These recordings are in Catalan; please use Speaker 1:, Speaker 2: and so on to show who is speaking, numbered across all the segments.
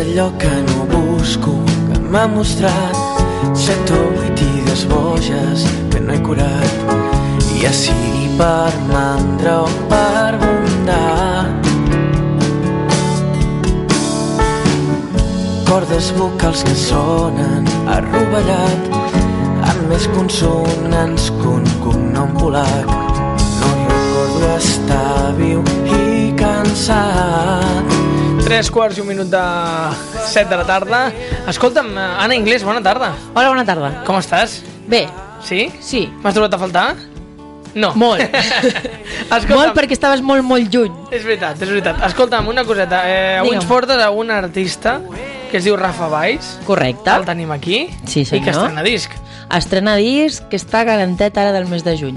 Speaker 1: allò que no busco, que m'ha mostrat set o vuit idees boges que no he curat. Ja sigui per mandra o per bondat. Cordes vocals que sonen arrovellat amb més consonants que un cognom polac. No recordo estar viu i cansat.
Speaker 2: 3 quarts i un minut de 7 de la tarda. Escolta'm, eh, Anna Inglés, bona tarda.
Speaker 3: Hola, bona tarda.
Speaker 2: Com estàs?
Speaker 3: Bé,
Speaker 2: Sí?
Speaker 3: sí,
Speaker 2: M'has trobat a faltar? No.
Speaker 3: Molt.
Speaker 2: Escolta'm,
Speaker 3: molt perquè estaves molt, molt lluny.
Speaker 2: És veritat, és veritat. Escolta'm, una coseta. Eh, avui ens
Speaker 3: Digue'm.
Speaker 2: portes a un artista que es diu Rafa Valls.
Speaker 3: Correcte.
Speaker 2: El tenim aquí.
Speaker 3: Sí,
Speaker 2: I que
Speaker 3: senyor.
Speaker 2: estrena disc.
Speaker 3: Estrena disc que està garantet ara del mes de juny.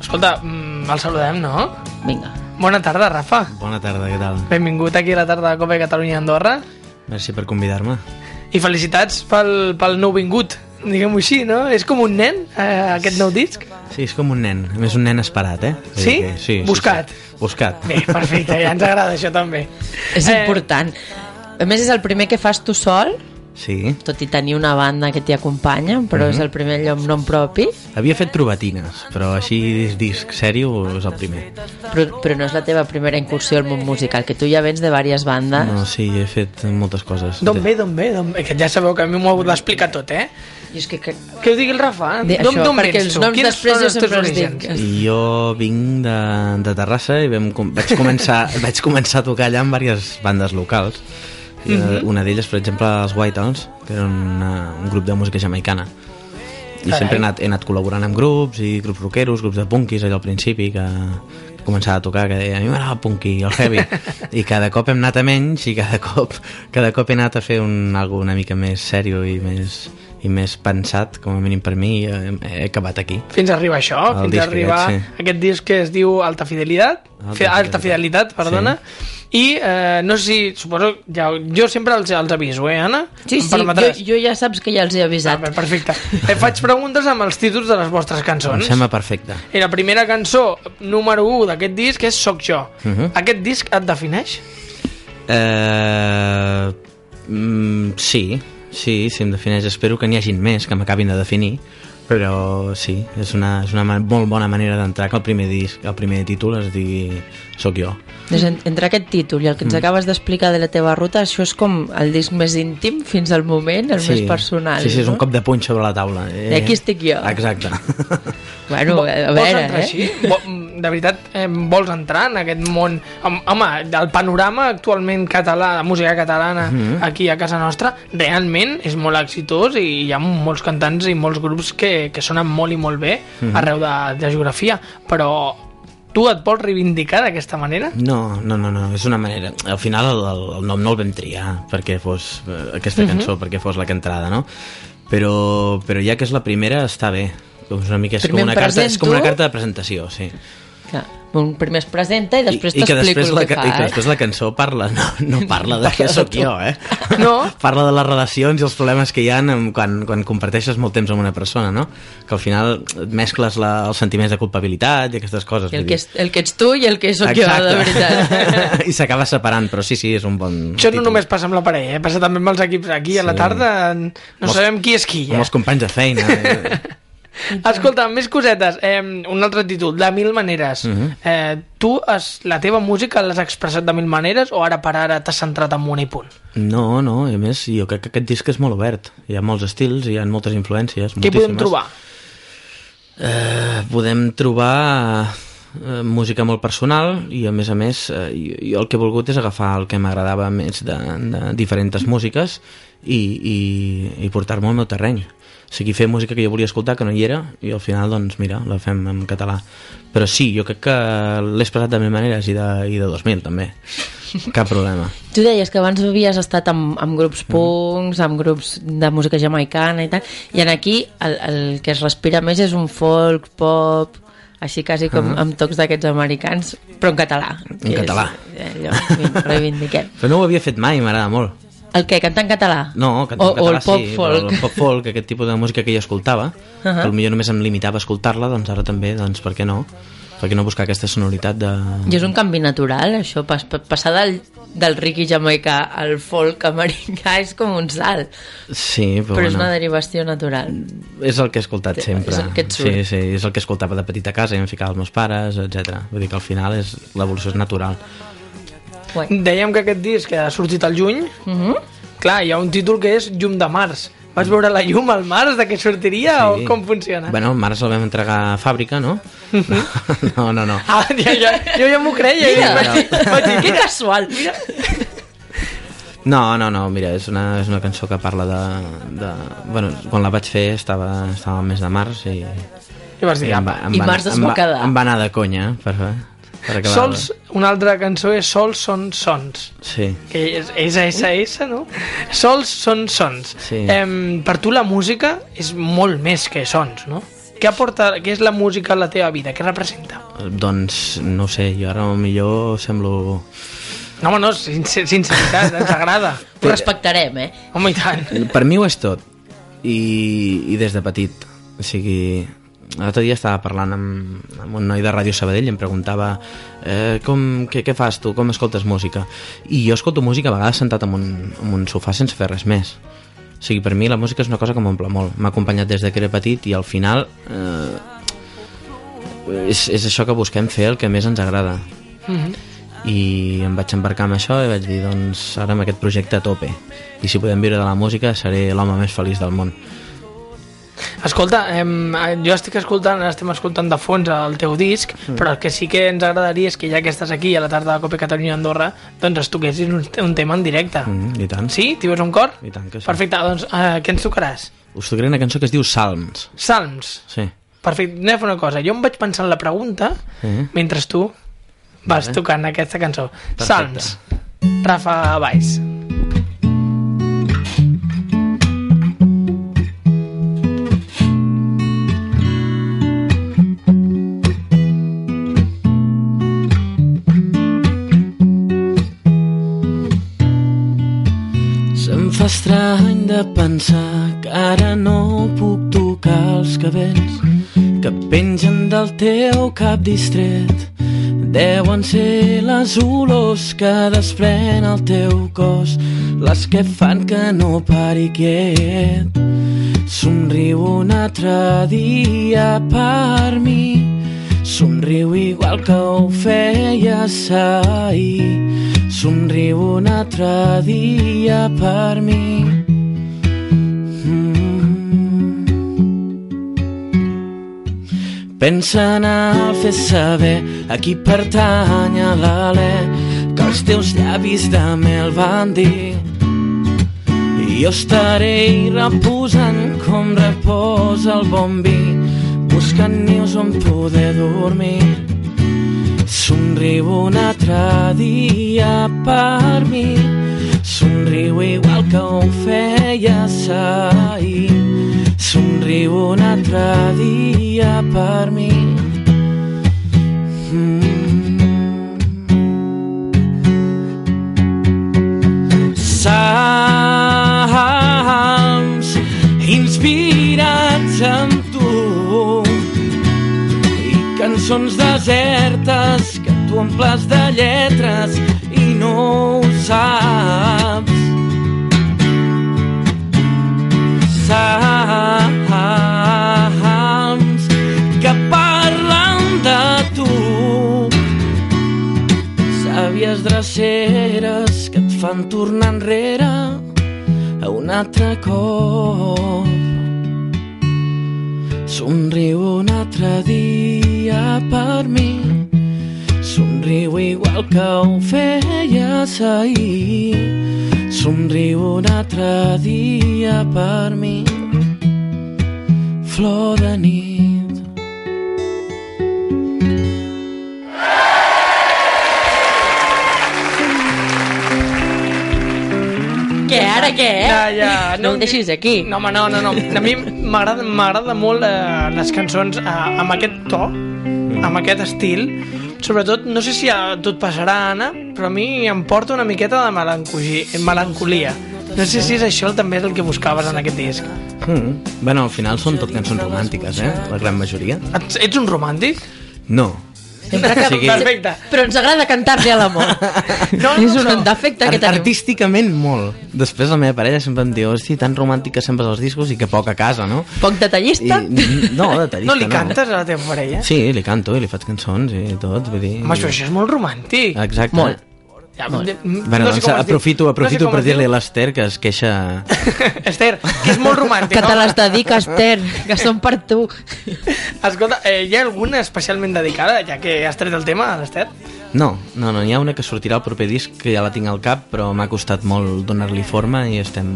Speaker 2: Escolta, mm, el saludem, no?
Speaker 3: Vinga.
Speaker 2: Bona tarda, Rafa.
Speaker 4: Bona tarda, què tal?
Speaker 2: Benvingut aquí a la tarda de Copa de Catalunya i Andorra.
Speaker 4: Merci per convidar-me.
Speaker 2: I felicitats pel, pel nou vingut, diguem-ho així, no? És com un nen, eh, aquest nou disc?
Speaker 4: Sí, és com un nen. A més, un nen esperat, eh? Vull
Speaker 2: Sí?
Speaker 4: dir que- Sí, sí,
Speaker 2: Buscat.
Speaker 4: Sí. Buscat.
Speaker 2: Bé, perfecte, ja ens agrada això també.
Speaker 3: És
Speaker 2: Eh.
Speaker 3: important. A més, és el primer que fas tu sol,
Speaker 4: Sí.
Speaker 3: tot i tenir una banda que t'hi acompanya, però
Speaker 2: Mhm.
Speaker 3: és el primer lloc nom propi,
Speaker 4: Havia fet probatines, però així disc sèrio és el primer.
Speaker 3: però, però no és la teva primera incursió al món musical, que tu ja vens de diverses bandes.
Speaker 4: No, sí, he fet moltes coses.
Speaker 2: D'on ve, d'on ve, d'on ve? Que ja sabeu que a mi m'ho hagut d'explicar tot, eh?
Speaker 3: I és que, que...
Speaker 2: Que ho digui el Rafa,
Speaker 3: De,
Speaker 2: eh? D'on
Speaker 3: això,
Speaker 2: d'on
Speaker 3: perquè
Speaker 2: vens
Speaker 3: els
Speaker 2: tu?
Speaker 3: noms
Speaker 2: Quins
Speaker 3: després
Speaker 2: són
Speaker 3: jo
Speaker 2: els teus
Speaker 3: sempre els dic.
Speaker 2: orígens?
Speaker 4: I jo vinc de, de Terrassa i vam, com- vaig, començar, vaig començar a tocar allà amb diverses bandes locals. I eh, una d'elles, per exemple, els Whitehorns, que eren una, un grup de música jamaicana. I
Speaker 2: Carai.
Speaker 4: sempre he anat, he anat col·laborant amb grups, i grups rockeros, grups de punkis, allò al principi, que que començava a tocar, que deia, a mi m'agrada el punky, el heavy. I cada cop hem anat a menys i cada cop, cada cop he anat a fer un, algo una mica més sèrio i més, i més pensat, com a mínim per mi, i he, he acabat aquí.
Speaker 2: Fins a arribar a això,
Speaker 4: El
Speaker 2: fins a
Speaker 4: disc
Speaker 2: arribar
Speaker 4: aquest,
Speaker 2: a aquest disc que es diu Alta Fidelitat,
Speaker 4: Alta
Speaker 2: Alta, Alta Fidelitat,
Speaker 4: Fidelitat,
Speaker 2: perdona, i eh, no sé si, suposo, ja, jo sempre els, els aviso, eh, Anna?
Speaker 3: Sí,
Speaker 2: Em
Speaker 3: sí, jo,
Speaker 2: permetràs?
Speaker 3: jo ja saps que ja els he
Speaker 2: Ah,
Speaker 3: avisat.
Speaker 2: bé, perfecte. Eh, faig preguntes amb els títols de les vostres
Speaker 4: Em
Speaker 2: cançons.
Speaker 4: sembla perfecte.
Speaker 2: I la primera cançó, número 1 d'aquest disc, és Soc jo.
Speaker 4: Mhm.
Speaker 2: Aquest disc et defineix?
Speaker 4: Eh, mm, sí, sí, si em defineix. Espero que n'hi hagin més, que m'acabin de definir. Però sí, és una, és una ma- molt bona manera d'entrar que el primer disc, el primer títol es digui Soc jo.
Speaker 3: Doncs en- entre aquest títol i el que
Speaker 4: Mm.
Speaker 3: ens acabes d'explicar de la teva ruta, això és com el disc més íntim fins al moment, el més personal.
Speaker 4: Sí, sí, és
Speaker 3: no?
Speaker 4: un cop de puny sobre la taula. Eh,
Speaker 3: I aquí estic jo.
Speaker 4: Exacte.
Speaker 3: Bueno, a
Speaker 2: Vols
Speaker 3: veure,
Speaker 2: entrar
Speaker 3: eh?
Speaker 2: així? Vo- mm, De veritat, eh, vols entrar en aquest món? Hom- Home, del panorama actualment català, de música catalana,
Speaker 3: Mhm.
Speaker 2: aquí a casa nostra, realment és molt exitós i hi ha molts cantants i molts grups que, que sonen molt i molt bé
Speaker 3: Mhm.
Speaker 2: arreu de, de geografia, però tu et vols reivindicar d'aquesta manera?
Speaker 4: No, no, no, no, és una manera... Al final el, el, el nom no el vam triar perquè fos eh, aquesta
Speaker 3: Mhm.
Speaker 4: cançó, perquè fos la que entrada, no? Però, però ja que és la primera, està bé. Com és una mica, és
Speaker 3: Primer
Speaker 4: com una,
Speaker 3: em
Speaker 4: carta, és com una
Speaker 3: presento.
Speaker 4: carta de presentació, sí.
Speaker 3: Clar, un primer es presenta i després
Speaker 4: I- i que
Speaker 3: t'explico
Speaker 4: després
Speaker 3: el
Speaker 4: la,
Speaker 3: que fa.
Speaker 4: ca- I que
Speaker 3: eh?
Speaker 4: després la cançó parla, no, no parla de què sóc jo, eh?
Speaker 2: No.
Speaker 4: parla de les relacions i els problemes que hi ha amb, quan, quan comparteixes molt temps amb una persona, no? Que al final mescles la, els sentiments de culpabilitat i aquestes coses.
Speaker 3: El
Speaker 4: vull
Speaker 3: que,
Speaker 4: dir.
Speaker 3: és, el que ets tu i el que sóc jo, de veritat.
Speaker 4: I s'acaba separant, però sí, sí, és un bon
Speaker 2: Això no
Speaker 4: títol.
Speaker 2: només passa amb la parella, eh? passa també amb els equips. Aquí a la
Speaker 4: Sí.
Speaker 2: tarda no
Speaker 4: Amb els-
Speaker 2: sabem qui és qui. Eh?
Speaker 4: Amb els companys de feina. eh?
Speaker 2: Escolta, més cosetes. Eh, un altre títol, De mil maneres.
Speaker 4: Mhm.
Speaker 2: eh, tu has, la teva música l'has expressat de mil maneres o ara per ara t'has centrat en un i punt?
Speaker 4: No, no, i a més, jo crec que aquest disc és molt obert. Hi ha molts estils, hi ha moltes influències.
Speaker 2: Què hi podem
Speaker 4: moltíssimes.
Speaker 2: trobar?
Speaker 4: Eh, podem trobar eh, música molt personal i a més a més eh, jo, jo el que he volgut és agafar el que m'agradava més de, de diferents músiques i, i, i portar-me al meu terreny o sigui, fer música que jo volia escoltar que no hi era i al final, doncs mira, la fem en català però sí, jo crec que l'he expressat de mil maneres i de, i de 2000 també cap problema
Speaker 3: Tu deies que abans havies estat amb, amb grups
Speaker 4: Mm.
Speaker 3: punks, amb grups de música jamaicana i tal, i en aquí el, el que es respira més és un folk, pop, així quasi com amb tocs d'aquests americans, però en català. que és
Speaker 4: Mm. català.
Speaker 3: Allò, vinga, reivindiquem.
Speaker 4: però no ho havia fet mai, m'agrada molt
Speaker 3: El què, cantar en català?
Speaker 4: No, cantar
Speaker 3: o,
Speaker 4: en català
Speaker 3: o el pop
Speaker 4: sí,
Speaker 3: folk.
Speaker 4: Però el pop folk, aquest tipus de música que jo escoltava, uh -huh. que potser només em limitava a escoltar-la, doncs ara també, doncs per què no? per què no buscar aquesta sonoritat de...
Speaker 3: I és un canvi natural, això, pas, pa- passar del, del riqui jamaicà al folk americà és com un salt,
Speaker 4: Sí, però,
Speaker 3: però,
Speaker 4: però
Speaker 3: és
Speaker 4: bueno,
Speaker 3: una derivació natural.
Speaker 4: és el que he escoltat sempre.
Speaker 3: és el que et surt.
Speaker 4: sí, sí, és el que escoltava de petit a casa i em ficava els meus pares, etc. Vull dir que al final és l'evolució és natural.
Speaker 3: Guai.
Speaker 2: Dèiem que aquest disc que ha sortit al juny,
Speaker 3: Mm -hmm.
Speaker 2: clar, hi ha un títol que és Llum de març. Vas veure la llum al març de què sortiria
Speaker 3: Oh,
Speaker 4: Sí.
Speaker 2: o com funciona?
Speaker 4: Bueno, el març el vam entregar a fàbrica, no?
Speaker 3: Mhm.
Speaker 4: No, no, no.
Speaker 2: Ah, ja, ja, jo ja m'ho creia.
Speaker 3: Mira.
Speaker 2: Mira. Vaig, dir- vaig dir,
Speaker 3: Que
Speaker 2: "Què
Speaker 3: casual, mira.
Speaker 4: No, no, no, mira, és una, és una cançó que parla de... de... Bueno, quan la vaig fer estava, estava al mes de març i...
Speaker 2: I vas dir, apa.
Speaker 3: I març es
Speaker 4: em
Speaker 3: va
Speaker 4: va,
Speaker 3: quedar.
Speaker 4: Em va anar de conya, per, per acabar.
Speaker 2: Sols, una altra cançó és Sols són sons.
Speaker 4: Sí.
Speaker 2: Que és SS, no? Sols són sons.
Speaker 4: Sí.
Speaker 2: Em, per tu la música és molt més que sons, no? Què aporta, què és la música a la teva vida? Què representa?
Speaker 4: Doncs, no ho sé, jo ara millor semblo...
Speaker 2: No, home, no, sincer, sinceritat, ens agrada.
Speaker 3: Ho respectarem, eh?
Speaker 2: Home, i tant.
Speaker 4: Per mi ho és tot. I, i des de petit. O sigui, l'altre dia estava parlant amb, amb un noi de Ràdio Sabadell i em preguntava eh, com, què, què fas tu, com escoltes música? I jo escolto música a vegades sentat en un, en un sofà sense fer res més. O sigui, per mi la música és una cosa que m'omple molt. M'ha acompanyat des de que era petit i al final eh, és, és això que busquem fer el que més ens agrada. i em vaig embarcar amb això i vaig dir, doncs ara amb aquest projecte a tope i si podem viure de la música seré l'home més feliç del món
Speaker 2: Escolta, em, jo estic escoltant, estem escoltant de fons el teu disc,
Speaker 4: Mm.
Speaker 2: però el que sí que ens agradaria és que ja que estàs aquí a la tarda de Copa Catalunya a Andorra, doncs es toquessis un, un tema en directe.
Speaker 4: mm, i tant,
Speaker 2: Sí? T'hi veus un cor?
Speaker 4: I tant que sí.
Speaker 2: Perfecte, doncs eh, què ens tocaràs?
Speaker 4: us tocaré una cançó que es diu Salms
Speaker 2: Salms.
Speaker 4: sí.
Speaker 2: Perfecte, anem a fer una cosa. Jo em vaig pensar en la pregunta
Speaker 4: Sí.
Speaker 2: mentre tu vas tocant aquesta cançó. Salms. Rafa Baix.
Speaker 4: Se'm fa estrany de pensar que ara no puc tocar els cabells que pengen del teu cap distret. Deuen ser les olors que desprèn el teu cos, les que fan que no pari quiet. Somriu un altre dia per mi, somriu igual que ho feies ahir. Somriu un altre dia per mi. Mm. Pensa en el fer saber a qui pertany a l'alè que els teus llavis de mel van dir i jo estaré reposant com reposa el bon vi buscant nius on poder dormir somriu un altre dia per mi somriu igual que ho feies ahir somriu un altre dia per mi mm. salms inspirats en tu i cançons desertes que tu omples de lletres i no ho saps salms que parlen de tu Sàvies dreceres que et fan tornar enrere a un altre cop. Somriu un altre dia per mi, somriu igual que ho feies ahir. Somriu un altre dia per mi, flor de nit.
Speaker 3: Què, ara què, eh?
Speaker 2: Ja, ja,
Speaker 3: no, em deixis aquí.
Speaker 2: No, home, no, no, no. A mi m'agrada- m'agrada molt eh, les cançons eh, amb aquest to, amb aquest estil. Sobretot, no sé si a tu et passarà, Anna, però a mi em porta una miqueta de melancoli- melancolia. No sé si és això també el que buscaves en aquest disc.
Speaker 4: Mm. Bueno, al final són tot cançons romàntiques, eh? La gran majoria.
Speaker 2: Ets, ets un romàntic?
Speaker 4: No,
Speaker 3: Sempre que...
Speaker 4: sigui-
Speaker 2: Perfecte.
Speaker 3: Però ens agrada cantar-li a l'amor.
Speaker 2: No, no,
Speaker 3: és un
Speaker 2: no.
Speaker 3: defecte que
Speaker 4: Art
Speaker 3: tenim.
Speaker 4: artísticament molt. Després la meva parella sempre em diu, hosti, tan romàntica sempre els discos i que poc a casa, no?
Speaker 3: Poc detallista.
Speaker 4: I, no, detallista,
Speaker 2: No li cantes a la teva parella?
Speaker 4: Sí, li canto i li faig cançons i tot, vull dir...
Speaker 2: Home, això, això és molt romàntic.
Speaker 4: Exacte.
Speaker 3: Molt.
Speaker 2: Ja, mm,
Speaker 4: Bueno, doncs,
Speaker 2: com es diu.
Speaker 4: aprofito, aprofito
Speaker 2: com
Speaker 4: per
Speaker 2: es diu.
Speaker 4: dir-li a l'Ester que es queixa...
Speaker 2: Esther, que és molt romàntic,
Speaker 3: Que te
Speaker 2: no?
Speaker 3: les dedica, Esther, que són per tu.
Speaker 2: Escolta, eh, hi ha alguna especialment dedicada, ja que has tret el tema, l'Ester?
Speaker 4: No, no, no, hi ha una que sortirà al proper disc que ja la tinc al cap, però m'ha costat molt donar-li forma i estem...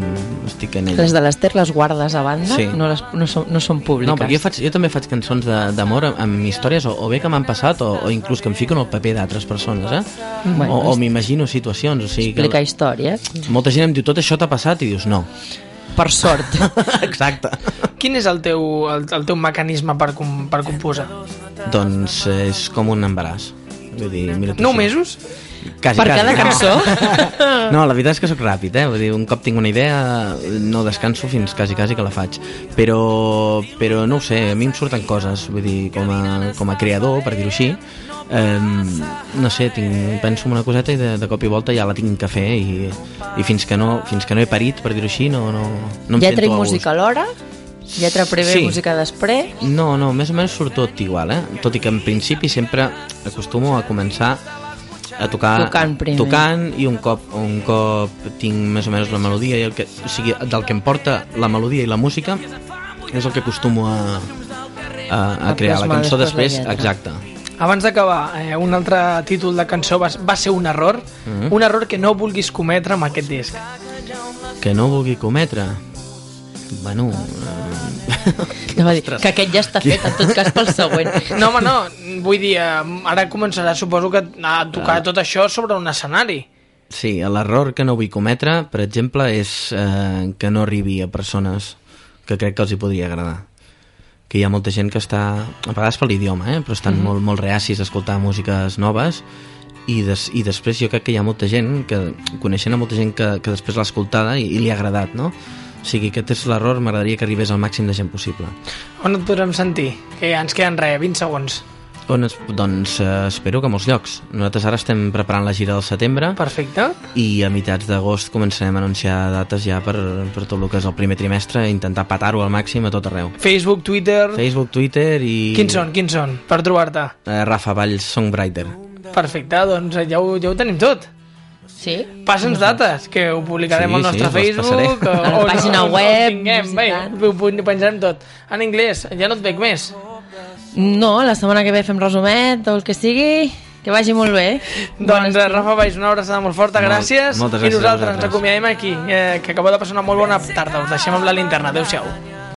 Speaker 4: estic en ella.
Speaker 3: Les de l'Ester les guardes a banda,
Speaker 4: Sí.
Speaker 3: no, les, no, són, no són públiques.
Speaker 4: No, perquè jo, faig, jo també faig cançons de- d'amor amb, amb històries o, o bé que m'han passat o, o inclús que em fico en el paper d'altres persones, eh?
Speaker 3: Bueno,
Speaker 4: o o m'imagino situacions, o sigui que...
Speaker 3: Explica històries.
Speaker 4: Molta gent em diu, tot això t'ha passat? I dius, no.
Speaker 3: Per sort.
Speaker 4: Exacte.
Speaker 2: Quin és el teu, el, el teu mecanisme per, com, per composar?
Speaker 4: doncs eh, és com un embaràs. Vull dir, mira
Speaker 2: Nou mesos?
Speaker 4: Quasi,
Speaker 3: Per
Speaker 4: quasi,
Speaker 3: cada cançó?
Speaker 4: No, la veritat és que sóc ràpid, eh? Vull dir, un cop tinc una idea, no descanso fins quasi, quasi que la faig. Però, però no ho sé, a mi em surten coses, vull dir, com a, com a creador, per dir-ho així, eh, no sé, tinc, penso en una coseta i de, de cop i volta ja la tinc que fer i, i fins, que no, fins que no he parit, per dir-ho així, no, no, no em
Speaker 3: Lletra i
Speaker 4: sento a gust.
Speaker 3: música alhora, lletra primer,
Speaker 4: Sí.
Speaker 3: música després.
Speaker 4: No, no, més o menys surt tot igual, eh? Tot i que en principi sempre acostumo a començar a tocar
Speaker 3: Tocant primer.
Speaker 4: tocant i un cop, un cop tinc més o menys la melodia i el que, o sigui, del que em porta la melodia i la música és el que acostumo a, a, a
Speaker 3: A
Speaker 4: crear la
Speaker 3: plasmar
Speaker 4: cançó
Speaker 3: després
Speaker 4: després,
Speaker 3: la lletra.
Speaker 4: exacte
Speaker 2: Abans d'acabar, eh, un altre títol de cançó va, va ser un error, mm
Speaker 4: Mm-hmm.
Speaker 2: -hmm. un error que no vulguis cometre amb aquest disc.
Speaker 4: que no vulgui cometre bueno eh,
Speaker 3: Ja va dir, que aquest ja està fet, en tot cas pel següent.
Speaker 2: No, home, no, vull dir, eh, ara començarà, suposo que a tocar tot això sobre un escenari.
Speaker 4: sí, l'error que no vull cometre per exemple és eh, que no arribi a persones que crec que els hi podria agradar que hi ha molta gent que està, a vegades per l'idioma, eh? però estan molt, molt reacis a escoltar músiques noves i, des, i després jo crec que hi ha molta gent que coneixent a molta gent que, que després l'ha escoltada i, i li ha agradat, no? O sigui, aquest és l'error, m'agradaria que arribés al màxim de gent possible.
Speaker 2: On et podrem sentir? Que ens queden res, 20 segons.
Speaker 4: On es, doncs eh, espero que a molts llocs. Nosaltres ara estem preparant la gira del setembre
Speaker 2: Perfecte.
Speaker 4: i a mitjans d'agost començarem a anunciar dates ja per, per tot el que és el primer trimestre i intentar patar-ho al màxim a tot arreu.
Speaker 2: Facebook, Twitter...
Speaker 4: Facebook, Twitter i...
Speaker 2: Quins són, quins són, per trobar-te?
Speaker 4: Eh, Rafa Valls, Songwriter.
Speaker 2: Perfecte, doncs eh, ja ho, ja ho tenim tot.
Speaker 3: Sí?
Speaker 2: Passa'ns dates, que ho publicarem
Speaker 4: Doncs, Sí,
Speaker 2: al
Speaker 4: sí,
Speaker 2: nostre
Speaker 4: les
Speaker 2: Facebook.
Speaker 4: passaré.
Speaker 2: o-
Speaker 3: A la
Speaker 2: on-
Speaker 3: pàgina
Speaker 2: on- on
Speaker 3: web,
Speaker 2: Tinguem, bé,
Speaker 3: musical.
Speaker 2: ho pu- ho penjarem tot. En anglès, ja no et veig més.
Speaker 3: No, la setmana que ve fem resumet o el que sigui. Que vagi molt bé.
Speaker 2: Doncs eh, Rafa Baix, una abraçada molt forta,
Speaker 4: Molt-
Speaker 2: gràcies.
Speaker 4: moltes
Speaker 2: I
Speaker 4: gràcies a
Speaker 2: nosaltres ens
Speaker 4: vosaltres.
Speaker 2: acomiadem aquí, eh, que acabeu de passar una molt bona tarda. Us deixem amb la linterna. Adéu-siau.